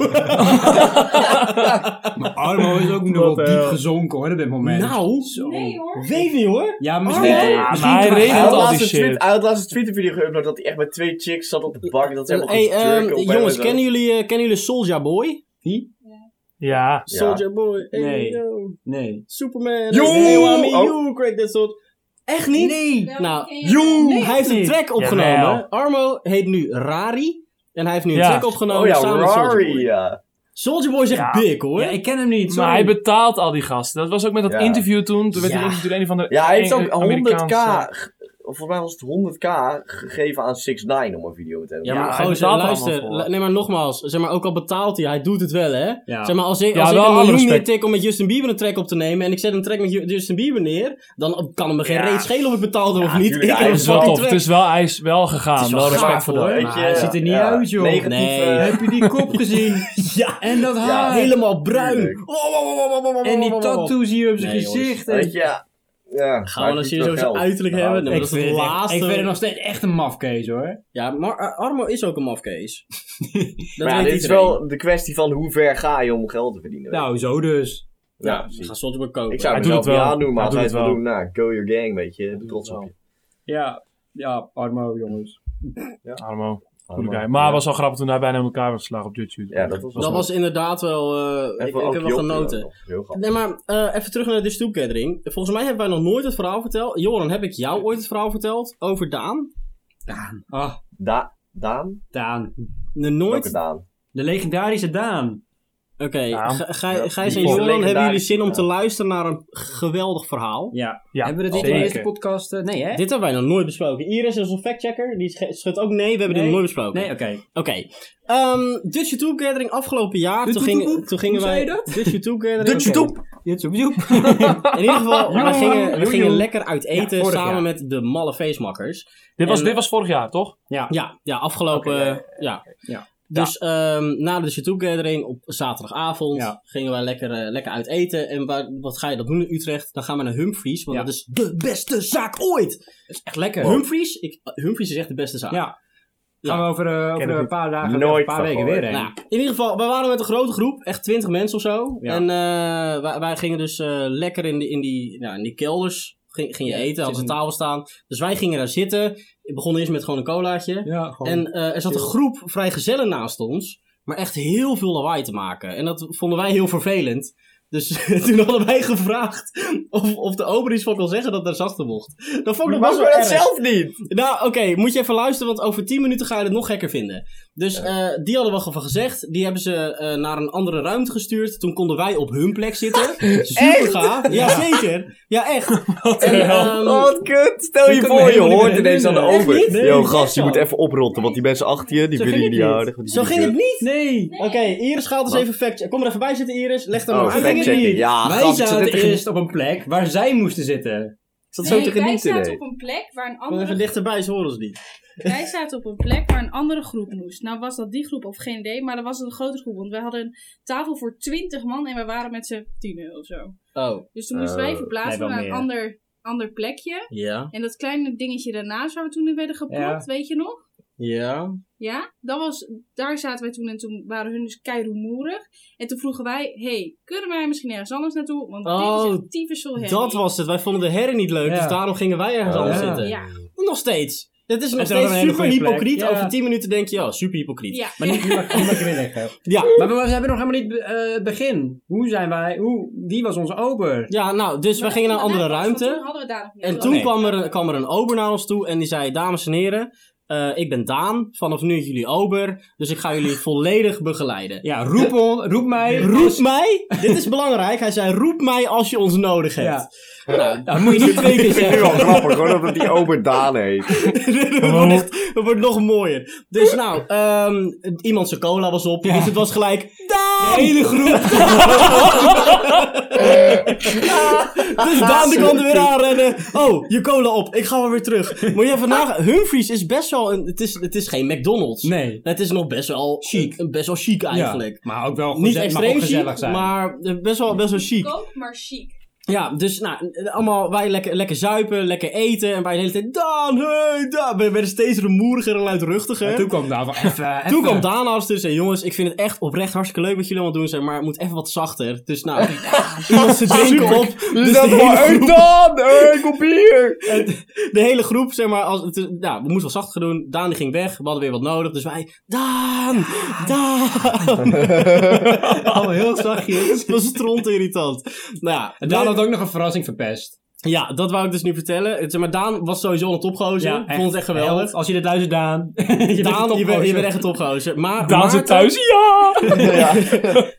Ja. Maar Armo is ook nog wel Wat, diep eh, gezonken hoor, op dit moment. nou, Nee hoor. weet niet hoor. Ja, misschien. Armo? Ja, misschien maar hij kan- regelt Hij had al die laatst een shit. tweet- hij had laatst een Twitter-video geüpload dat hij echt met twee chicks zat op de bank. Dat ze helemaal Hey, goed jerken ehm, op hem jongens, en zo. kennen jullie, eh, kennen jullie Soulja Boy? Wie? Ja. Ja. Soulja Boy, hey, Nee. yo. Nee. Superman, Yo! hey, I mean Oh. you, crack that soort. Echt niet? Nee. Ja, Nou, ken je- hij heeft een track opgenomen. Jawel. Armo heet nu Rari. En hij heeft nu een Ja. track opgenomen Oh ja, samen met Soulja Rory. Boy. ja. Soulja Boy is echt Ja. dik, hoor. Ja, ik ken hem niet. Maar sorry. hij betaalt al die gasten. Dat was ook met dat Ja. interview toen. Toen werd Ja. hij natuurlijk een van de. Ja, hij heeft ook 100k. Amerikaanse- ge- Volgens mij was het 100k gegeven aan 6 9 om een video te Ja, hebben. maar Ja, hij gozer, betaalt er luister. allemaal voor. lu- Nee, maar nogmaals. Zeg maar, ook al betaalt hij, hij doet het wel, hè. Ja. Zeg maar, als ik, Ja, als ik wel een alle miljoen respect. neer tik om met Justin Bieber een track op te nemen... en ik zet een track met Ju- Justin Bieber neer... dan kan het me geen Ja. reet schelen of ik betaald heb Ja, of niet. tuurlijk, ik hij heb Het is is een wel fucking tof. Het is wel, hij is wel gegaan. is wel wel, respect gaaf, voor dat. hoor. Weet Maar je, hij ziet er niet ja. uit, joh. Negatief, Nee. eh, Heb je die kop gezien? Ja, En dat Ja. haar. helemaal bruin. Tuurlijk. Oh, oh, oh, oh, oh, oh, oh, En die oh, oh, oh. tattoos hier op zijn Nee, gezicht. Weet En... je, ja. ja Gaan we dan serieus over zijn uiterlijk Nou, hebben? Nee, maar dat is het het echt- laatste. ik vind het nog steeds echt een mafkees hoor. Ja, maar Ar- Armo is ook een mafkees. dat Maar ja, weet dit is iedereen. wel de kwestie van hoe ver ga je om geld te verdienen. Nou, zo dus. Ja, Ja, we precies. gaan Soulja Boy kopen. Ik zou Hij het doet mezelf het niet wel. aandoen, maar Hij als doet hij het het wil doen, nou, go your gang, weet je. Trots het op wel. je. Ja, ja, Armo jongens. Armo. Goede Allemaal. guy. Maar Ja. was al grappig toen hij bijna in elkaar werd geslagen op YouTube. Ja, dat was Dat was inderdaad wel... eh, ik, ik heb wel genoten. Heel grappig. Nee, maar eh, even terug naar de stoelkettering. Volgens mij hebben wij nog nooit het verhaal verteld. Joran, heb ik jou ooit het verhaal verteld over Daan? Daan. Ah, Da Daan? Daan. Nee, Welke Nooit? Daan? De legendarische Daan. Oké, Daan. Gij- Gij- Gijs en Die Joran, hebben jullie legendarische zin om Daan. te luisteren naar een geweldig verhaal? Ja. Ja, Hebben we dat niet in de eerste zeker. podcast? eh, Nee hè? Dit hebben wij nog nooit besproken. Iris is een factchecker, die sche- schudt ook nee, we hebben dit Nee. nog nooit besproken. Nee, oké. Oké. Ehm Dutch YouTube Gathering afgelopen jaar. Dutch Toen, gingen YouTube? toen gingen Hoe wij. zei je Dutch YouTube Gathering. Dutch Oké. YouTube? Dit is op In ieder geval, we gingen, we Joe, gingen joe. lekker uit eten Ja, vorig samen jaar. met de malle feestmakkers. Dit was, En- dit was vorig jaar, toch? Ja, ja afgelopen. Oké, ja, ja. ja. Dus ehm, na de Dutch YouTube Gathering op zaterdagavond Ja. gingen wij lekker, eh, lekker uit eten. En waar, wat ga je dat doen in Utrecht? Dan gaan we naar Humphries, want Ja. dat is de beste zaak ooit. Dat is echt lekker. Humphries? Ik, Humphries is echt de beste zaak. Ja. Ja. Gaan we over, eh, over ik een niet. paar dagen, Nooit een paar van weken gehoord. weer heen. Nou, ja, in ieder geval, wij waren met een grote groep, echt 20 mensen of zo. Ja. En eh, wij, wij gingen dus eh, lekker in die, in die, nou, in die kelders. Ging, ging je Ja, eten, hadden zit ze een- tafel staan. Dus wij gingen daar zitten. Ik begon eerst met gewoon een colaatje. ja, gewoon. en eh, er zat een chill. groep vrijgezellen naast ons. Maar echt heel veel lawaai te maken. En dat vonden wij heel vervelend. Dus toen hadden wij gevraagd of, of de ober iets van kon zeggen dat er zachter mocht. Dat vond ik nog Maar best ik wel dat erg. zelf niet! Nou, oké, moet je even luisteren, want over 10 minuten ga je het nog gekker vinden. Dus eh, die hadden we al van gezegd. Die hebben ze eh, naar een andere ruimte gestuurd. Toen konden wij op hun plek zitten. Super gaaf. Ja, zeker. Ja, echt. En, ehm, Oh, wat kut! Stel je kan voor, me je helemaal niet hoort ineens aan de herinneren. Echt niet? ober. Nee, Yo, niet gast, echt je zo. moet even oprotten, want die mensen achter je, die Zo willen je ging niet het niet. aardig. want die zo doen ging het kut. niet. Nee. Oké, Iris gaat eens even fact Kom er even bij zitten, Iris. Leg hem Oh, maar uit. fact Ik checking. weet het Ja, Wij gast, ik zat zaten net te eerst op een plek waar zij moesten zitten. ik zat zo Nee, te wij genieten, zaten nee. op een plek waar een niet. Kom even andere, dichterbij, ze horen ze niet. wij zaten op een plek waar een andere groep moest. Nou was dat die groep of geen idee, maar dan was het een grotere groep. Want wij hadden een tafel voor 20 man en we waren met z'n tienen of zo. Oh, Dus toen moesten wij Oh, verplaatsen nee, wel naar een meer. ander, ander plekje. ja. En dat kleine dingetje daarnaast waar we toen in werden gepropt, weet je nog? Ja. Ja, dat was, daar zaten wij toen en toen waren hun dus keiroemoerig. En toen vroegen wij, hey, kunnen wij misschien ergens anders naartoe? Want dit is Oh, echt typisch veel herrie. Dat was het. Wij vonden de herren niet leuk, Ja. dus daarom gingen wij ergens Oh. anders Ja. zitten. Ja, Nog steeds. Het is nog Het is wel steeds een hele super goede plek. hypocriet. Ja. Over 10 minuten denk je, ja, super hypocriet. ja. Maar niet, niet mag niet mag je weer leggen. ja. Maar we, we hebben nog helemaal niet eh, het begin. Hoe zijn wij? Hoe, wie was onze ober? Ja, nou, dus wij gingen naar een andere daarna- Toen ruimte. hadden we daar nog niet En over. toen Nee. kwam er, een- kwam er een ober naar ons toe en die zei, dames en heren, eh, ik ben Daan, vanaf nu jullie ober, dus ik ga jullie volledig begeleiden. Ja, roep, on, roep mij. Roep mij, dit is belangrijk, hij zei, roep mij als je ons nodig hebt. Nou, Ja, moet je niet twee keer Nu zeggen. al grappig, gewoon omdat die ober Daan heet. dat, wordt echt- dat wordt nog mooier. Dus nou, ehm, iemand zijn cola was op, dus het was gelijk, Daan! hele groep. Dus Daan die kwam er weer aanrennen. Oh, je cola op. Ik ga maar weer terug. Moet je even nagaan. Humphries is best wel een... Het is, het is geen McDonald's. Nee. Het is nog best wel... Chic. een- Best wel chic eigenlijk. Ja, maar ook wel Niet geze- maar extreem ook chic, gezellig zijn. maar eh, best wel, best wel chic. Koop maar chic. Ja, dus nou, eh, allemaal wij lekker, lekker zuipen, lekker eten. En wij de hele tijd... Daan, hey, Daan. We werden steeds rumoeriger en luidruchtiger. En toen kwam daar van even... Toen kwam Daan als dus en jongens, ik vind het echt oprecht hartstikke leuk wat jullie allemaal doen zijn, maar het moet even wat zachter. Dus nou, iemand ze drinken op. Dus de, dat hele maar, groep, hey Daan, hey, kom hier! de hele groep, zeg maar, als, het, is- nou, we moesten wat zachter doen. Daan die ging weg, we hadden weer wat nodig, dus wij, Daan, Daan. al heel zachtjes. Dat was stront irritant. Nou ja, En Daan nee, had ook nog een verrassing verpest. Ja, dat wou ik dus nu vertellen. Het- Maar Daan was sowieso een topgozer. Ja, Ik vond het echt geweldig. Held, Als je dit luistert, Daan. je bent Daan, je bent, je topgozer. bent echt een topgozer. Maar Daan Maarten, zit thuis, ja!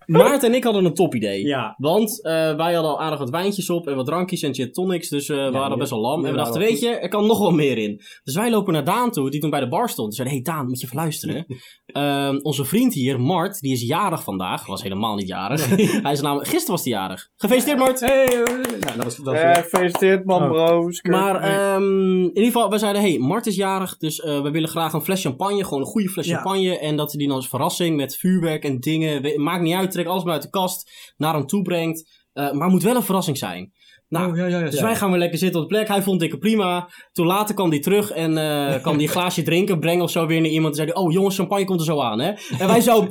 Maarten en ik hadden een topidee. Ja. Want eh, wij hadden al aardig wat wijntjes op en wat drankjes en gin tonics. Dus eh, we waren ja. best wel lam. Ja, en we dachten, wel weet je, er kan nog wel meer in. Dus wij lopen naar Daan toe, die toen bij de bar stond. Ze zeiden, hey Daan, moet je even luisteren. Ehm, onze vriend hier, Mart, die is jarig vandaag. Was helemaal niet jarig. hij is namelijk, gisteren was hij jarig. Gefeliciteerd Mart! Hey, eh, nou, dat was, dat was Eh, Gefeliciteerd man, Oh. bro. Maar ehm, in ieder geval, wij zeiden, hey, Mart is jarig, dus eh, we willen graag een fles champagne, gewoon een goede fles Ja. champagne. En dat hij die dan als verrassing met vuurwerk en dingen, we- maakt niet uit, trek alles maar uit de kast, naar hem toe brengt. Eh, maar moet wel een verrassing zijn. Nou, Oh, ja, ja, ja, dus ja. wij gaan weer lekker zitten op de plek. Hij vond ik prima. Toen later kwam hij terug en eh kwam hij een glaasje drinken brengen of zo weer naar iemand. En zei hij, oh jongens, champagne komt er zo aan, hè. En wij zo,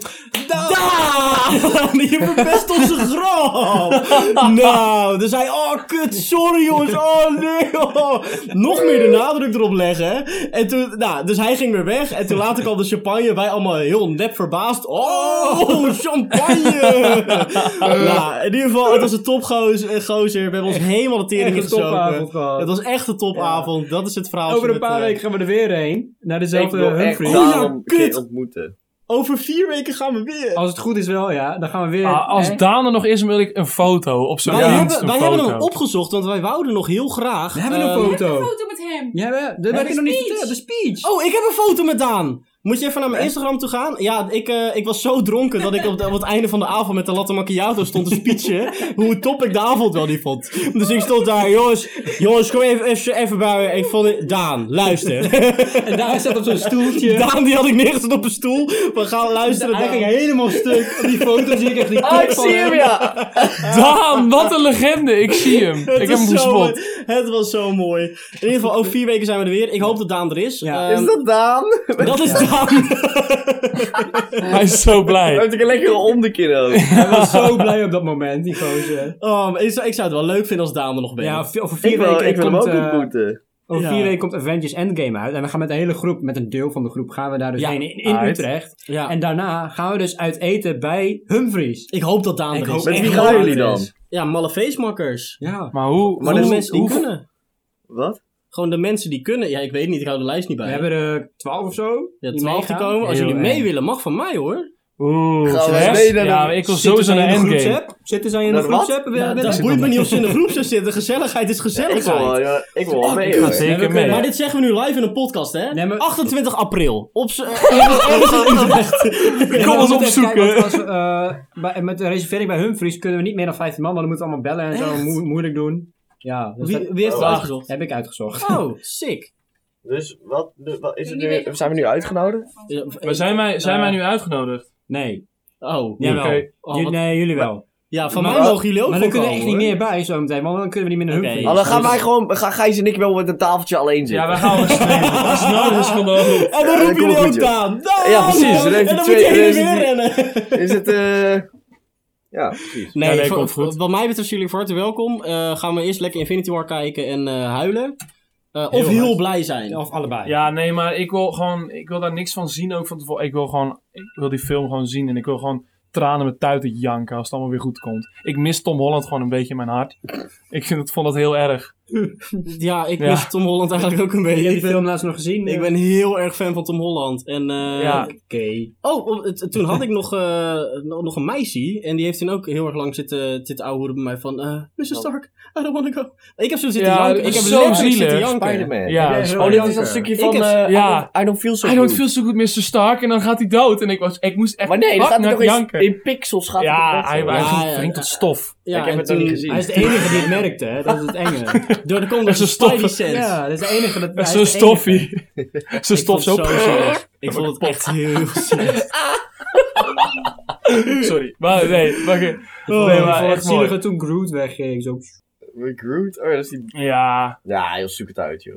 Daan! Je verpest onze grap! nou, dus hij, oh kut, sorry jongens, oh nee! oh." Nog meer de nadruk erop leggen. En toen, nou, dus hij ging weer weg. En toen later kwam de champagne, wij allemaal heel nep verbaasd. Oh, champagne! nou, in ieder geval, het was een topgozer. gozer. We hebben ons helemaal de tering Ah. Echt een gestoken. topavond gehad. Het was echt een topavond, dat is het eh, verhaal. Over een paar weken gaan we er weer heen. Naar Ik dezelfde wil echt Humphries. Oh, ja, daarom een kut. keer ontmoeten. Over vier weken gaan we weer. Als het goed is wel, ja. Dan gaan we weer... Ah, als Daan er nog is, wil ik een foto op zijn Wij, dienst, hebben, een wij foto. hebben hem opgezocht, want wij wouden nog heel graag. we hebben een eh, Ik heb foto. een foto met hem. Ja, we, dat heb ik nog niet verteld. De speech. Oh, ik heb een foto met Daan. Moet je even naar mijn Instagram toe gaan? Ja, ik, eh, ik was zo dronken dat ik op, de- op het einde van de avond met de latte macchiato stond te speechen. hoe top ik de avond wel niet vond. Dus ik stond daar, jongens, jongens, kom even, even, even bij me. Ik vond het- Daan, luister. En daar zat op zo'n stoeltje. Daan die had ik neergezet op een stoel. We gaan luisteren. Oh, Hij ging Daan. helemaal stuk. Op die foto zie Ah, ik echt die kop van hem. ja! Daan, wat een legende. Ik zie hem. Het ik heb is hem zo gespot. mooi. Het was zo mooi. In ieder geval, over vier weken zijn we er weer. Ik hoop dat Daan er is. Ja. Ehm, Is dat Daan? dat is Daan. Hij is zo Hij blij. heeft een lekkere onderkin ook. Hij was zo blij op dat moment, die gozer. Oh, maar ik, zou, ik zou het wel leuk vinden als Daan er nog bent. Ja, over vier Ik wil, weken ik wil hem komt, ook eh, ontmoeten. Over Ja. vier weken komt Avengers Endgame uit. En we gaan met de hele groep, met een deel van de groep, gaan we daar dus Ja. heen in, in Uit. Utrecht. Ja. En daarna gaan we dus uit eten bij Humphries. Ik hoop dat Daan Ik er hoop is. echt Met wie heel gaan leuk jullie dan? is. Ja, malle feestmakkers. Ja. Maar hoe... Maar Gewoon dat de is- mensen die hoe- kunnen. Wat? Gewoon de mensen die kunnen. Ja, ik weet niet, ik hou de lijst niet bij. We hebben er twaalf of zo. ja, die 12 te meegaan. komen. Als Heel jullie mee eng. willen, mag van mij hoor. Oeh, Gaan we Jess? mee naar de- Ja, maar ik wil Zitten sowieso zij naar in de Endgame. groepsapp? Zitten zij in de Dat wat? groepsapp? Ja, Willen- dat zit boeit nog me niet of ze in de groep zou zitten. Gezelligheid is Ik wil, gezelligheid. Oh, wel, ja, ik wil wel mee. ik ga hoor. zeker Ja, we mee. kunnen- Maar dit zeggen we nu live in een podcast, hè? Nee, maar- 28 april. Op z'n- ergens in Utrecht. Ik Ja, kom we ons moeten even opzoeken. kijken, want als we, eh, bij- met de reservering bij Humphries kunnen we niet meer dan 15 man, want dan moeten we allemaal bellen en zo moe- moeilijk doen. Ja, dus Wie, dat wie heeft het Oh. uitgezocht? heb ik uitgezocht. Oh, sick. Dus wat, de- wat is Ik het niet nu? weten- Zijn we nu uitgenodigd? Ja, Maar zijn wij, zijn Eh, wij nu uitgenodigd? Nee, Oh, jawel. Oké. Oh, Ju- wat- nee, jullie wel. Ja, van Maar- mij mogen jullie ook Maar wel dan kunnen we echt komen, niet hoor. meer bij zo meteen, want dan kunnen we niet meer naar Oké. Humphries. Oh, dan gaan Dus- wij gewoon, gaan Gijs en ik wel met een tafeltje alleen Ja, zitten. wij gaan wel streamen. Dat is nodig, dat is gewoon En dan Ja, dat roepen komt jullie goed, ook joh. aan. Daan! Ja, precies. En Dan heeft hij Oh, dan moet twee- je heen en dan weer is rennen. Is het, eh... Ja, precies. Nee, Ja, nee, voor- komt goed. voor- Wat mij betreft zijn jullie van harte welkom. Eh, gaan we eerst lekker Infinity War kijken en eh, huilen. Eh, of Heel heel hard. blij zijn. Of allebei. Ja, nee, maar ik wil gewoon... Ik wil daar niks van zien ook van tevoren. Ik wil gewoon... Ik wil die film gewoon zien. En ik wil gewoon tranen met tuiten janken als het allemaal weer goed komt. Ik mis Tom Holland gewoon een beetje in mijn hart. Ik vind, het- vond dat heel erg. Ja, ik Ja. mis Tom Holland eigenlijk ook een Heb beetje. je die Ik ben, film laatst nog gezien? ik ben heel erg fan van Tom Holland. En, eh, Ja. Oké. Oh, oh, het- toen had ik nog, eh, nog nog een meisje. En die heeft toen ook heel erg lang zitten, zitten ouwehoeren bij mij van... eh Mr. Stark, I don't wanna go. Ik heb zo zitten Ja, janken. dat Ik is heb zo letterlijk zitten zielig. janken. Spider-Man. Ja, Ja, dat is heel Oh, dit gewoon- is dat stukje van... heb- eh, Ja. I, don't, I don't feel so Hij doet good. veel zo goed, Mr. Stark. En dan gaat hij dood. En ik, was, ik moest echt Maar nee, dan gaat hij hard nog naar eens janken. in pixels gaat hij Ja, toch echt hij, zo. hij nou, Ja, ging- ja, ging ja. tot stof. Ja, Ik heb en het nog niet toen- gezien. Hij is de enige die het merkte, hè? Dat is het enge. Door de komt er Dat is een een stof. Spidey sense. Ja, dat is de enige. Dat, hij is Zo'n de enige. stoffie. Zo'n Ik vond stof het zo. Oh, zo zielig. Ik vond het echt heel zielig. Sorry. Maar nee, maar, oké. Oh, nee, ik maar vond het echt mooi. zielig dat toen Groot wegging. Zo. Met Groot? Oh, ja, dat is die... Ja, Ja, heel zoek het uit, joh.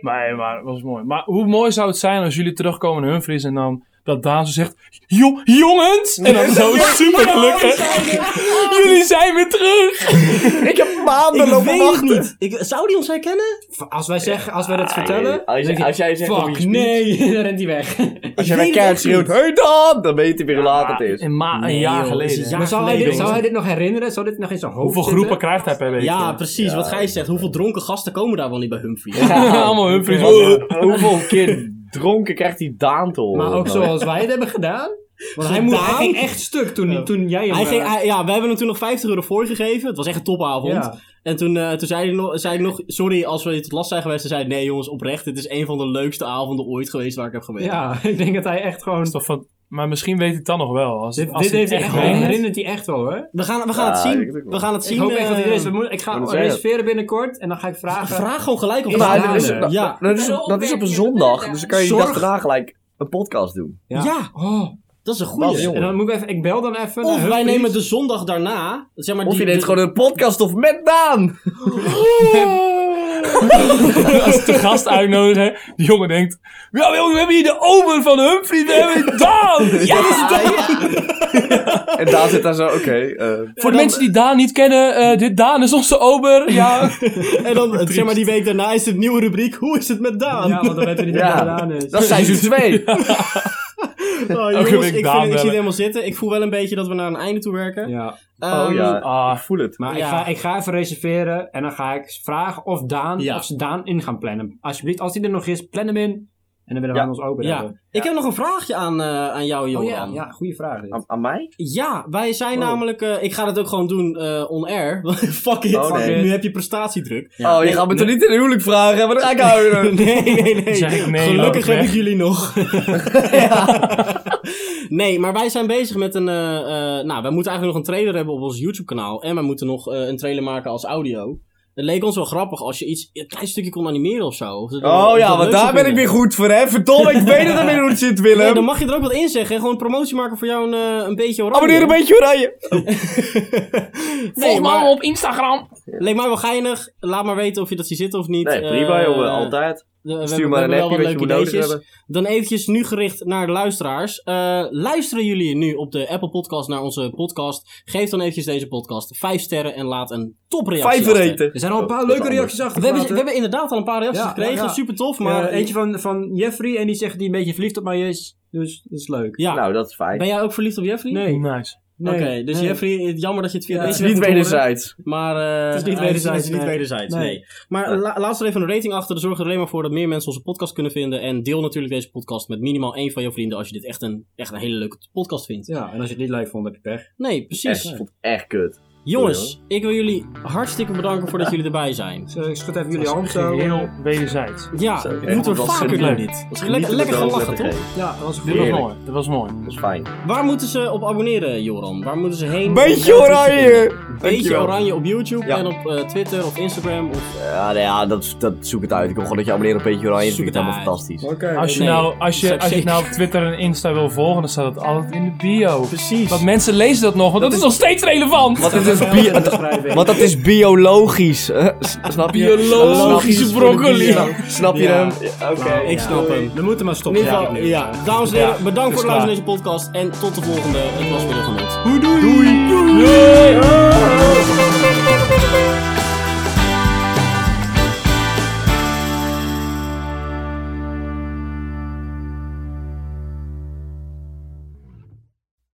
maar, maar het was mooi. Maar hoe mooi zou het zijn als jullie terugkomen in Humphries en dan dat Daan zo zegt, "Jo- jongens! En dan zo super gelukkig. Jullie zijn weer terug! Ik heb maanden Ik lopen weet het wachten. niet. Ik, zou die ons herkennen? Als wij, zeggen, als wij dat vertellen, Ah, dan Als, je- denk als je, jij zegt over je fuck, speech, nee, dan rent hij weg. als jij weet bij het Kern echt schreeuwt, niet. hey dan, dan weet je weer hoe laat het is. Een, ma- een jaar joh, is geleden. een jaar Maar zou hij, dit, geleden, zou hij jongens. dit nog herinneren? Zou dit nog in zijn hoofd Hoeveel zitten? groepen krijgt hij per week? Ja, joh? precies. Wat Gijs zegt. Hoeveel dronken gasten komen daar wel niet bij Humphries? Allemaal Humphries. Hoeveel keer dronken krijgt die Daan te horen? Maar Oh. ook zoals wij het hebben gedaan. Want hij, moest, hij ging echt stuk toen, Oh. toen jij hem... Hij ging, eh, hij- ja, we hebben hem toen nog 50 euro voorgegeven. Het was echt een topavond. Ja. En toen, eh, toen zei, hij nog, zei ik nog, sorry als we je tot last zijn geweest. Hij zei, nee jongens, oprecht. Dit is een van de leukste avonden ooit geweest waar ik heb gewerkt. ja, ik denk dat hij echt gewoon... Is toch van- maar misschien weet hij het dan nog wel. Als, Dit, als dit hij heeft het hij echt, weet. hij herinnert hij echt wel, hè? We gaan, we gaan Ja, het ik zien. denk ook We wel. gaan het zien. Ik hoop echt dat eh, iedereen... is- we moeten- Ik wat ga zei je? reserveren binnenkort en dan ga ik vragen... Vraag gewoon gelijk of Is het Maar aan dat is, is. dat- Ja. dat, is, dat is op een zondag, dus dan kan je die dag Zorg. daarna gelijk een podcast doen. Ja. Oh, dat is een Wat, goeie. jongen. en dan moet ik even... Ik bel dan even... naar Of wij Humphries. nemen de zondag daarna. Zeg maar, Of die, je deed de- gewoon een podcast of met Daan. Als de gast uitnodigen, die jongen denkt... Ja, jongen, we hebben hier de ober van Humphrey, we hebben Daan! Ja, dat is Daan! En Daan zit daar zo, oké. eh, Voor de mensen die Daan niet kennen, eh, dit Daan is onze ober. Ja, En dan, eh, zeg maar, die week daarna is het nieuwe rubriek. Hoe is het met Daan? Ja, want dan weten we niet wat Ja. er gedaan is. dat zijn ze twee. Oh, Elke jongens, week ik, vind, Daan ik zie het bellen. helemaal zitten. Ik voel wel een beetje dat we naar een einde toe werken. Ja. Oh Ehm, ja, Ah. ik voel het. Maar Ja. ik, ga, ik ga even reserveren en dan ga ik vragen of, Daan, Ja. of ze Daan in gaan plannen. Alsjeblieft, als hij er nog is, plan hem in. En dan willen we Ja. hem ons open Ja. hebben. Ik heb nog een vraagje aan, eh, aan jou, Oh Johan. Nou, ja, ja goede vraag. Dit. Aan, aan mij? Ja, wij zijn Oh. Wow. namelijk... eh, ik ga dat ook gewoon doen eh, on air. Fuck it. Oh, nee. Nu heb je prestatiedruk. oh, je gaat me toch niet in een huwelijk vragen, maar dan ga ik nou houden. Nee, nee, nee. Zeg ik nee, loop ik Gelukkig heb weg. ik jullie nog. Nee, maar wij zijn bezig met een... eh, eh, nou, wij moeten eigenlijk nog een trailer hebben op ons YouTube-kanaal. En wij moeten nog eh, een trailer maken als audio. Het leek ons wel grappig als je iets... Een klein stukje kon animeren of zo. Of dat- of Oh dat ja, leuk zou want daar ben ik kunnen. weer goed voor, hè. Verdomme, ik weet dat er weer hoe het zit, Nee, Willem. dan mag je er ook wat in zeggen. Gewoon promotie maken voor jou een, eh, een beetje oranje. Abonneer een beetje oranje. Nee, volg me maar- allemaal op Instagram. Leek mij wel geinig. Laat maar weten of je dat ziet zitten of niet. Nee, prima Eh, jongen, altijd. we- we Stuur hebben- maar we hebben een wel wat appje wat je leuke moet nodig ideetjes. hebben. Dan eventjes nu gericht naar de luisteraars. Eh, luisteren jullie nu op de Apple Podcast naar onze podcast? Geef dan eventjes deze podcast 5 sterren en laat een topreactie Vijf achter. reten. Er zijn al een Oh, paar dat leuke is anders. reacties achter. We hebben, we hebben inderdaad al een paar reacties Ja, gekregen. ja, ja. Super tof, maar... eentje van, van Jeffrey en die zegt dat hij een beetje verliefd op mij is. Dus dat is leuk. ja. Nou, dat is fijn. Ben jij ook verliefd op Jeffrey? Nee. Nice. Nee, Oké, dus nee. Jeffrey, het- jammer dat je het via Ja. deze Het is niet weg moet horen. wederzijds. Maar eh, Het is niet hij wederzijds, het is niet nee. wederzijds, nee. Nee. Maar la- laat er even een rating achter. Zorg er alleen maar voor dat meer mensen onze podcast kunnen vinden. En deel natuurlijk deze podcast met minimaal één van je vrienden als je dit echt een, echt een hele leuke podcast vindt. Ja, en als je het niet leuk vond, heb je pech. Nee, Echt, precies. ik vond het echt kut. Jongens, ik wil jullie hartstikke bedanken voordat jullie erbij zijn. Dus, eh, ik schud even jullie hand zo. Heel wederzijds. Ja, Zo, we echt, moeten dat we was vaker doen leuk. dit. Dat is Lekker, lekker gaan lachen, toch? Ja, dat was een Dit goede was Heerlijk. mooi. Dit was mooi. Dat is fijn. Waar moeten ze op abonneren, Joran? Waar moeten ze heen? Beetje Om jou te oranje. vinden? Beetje Dankjewel. oranje op YouTube Ja. en op eh, Twitter of Instagram. Of, Ja, nou ja, dat, dat zoek het uit. Ik wil gewoon dat je abonneert op Beetje Oranje. Dat Zoek vind ik het helemaal uit. fantastisch. Als je, Nee, nou, dat zou als, je, ik als je het zeker- nou op Twitter en Insta wil volgen, dan staat het altijd in de bio. Precies. Want mensen lezen dat nog, want dat, is nog steeds relevant. Want het is, bi- beschrijving. want dat is biologisch. eh, s- Snap je? Biologische broccoli. Snap- Snap je Ja. hem? Ja, Oké. ik snap hem. We moeten maar In stoppen. ieder geval, denk ja. ik nu. Dames en heren, Ja, bedankt is voor het luisteren dus klaar. naar deze podcast. En tot de volgende. Het was weer een genot. Doei. Doei.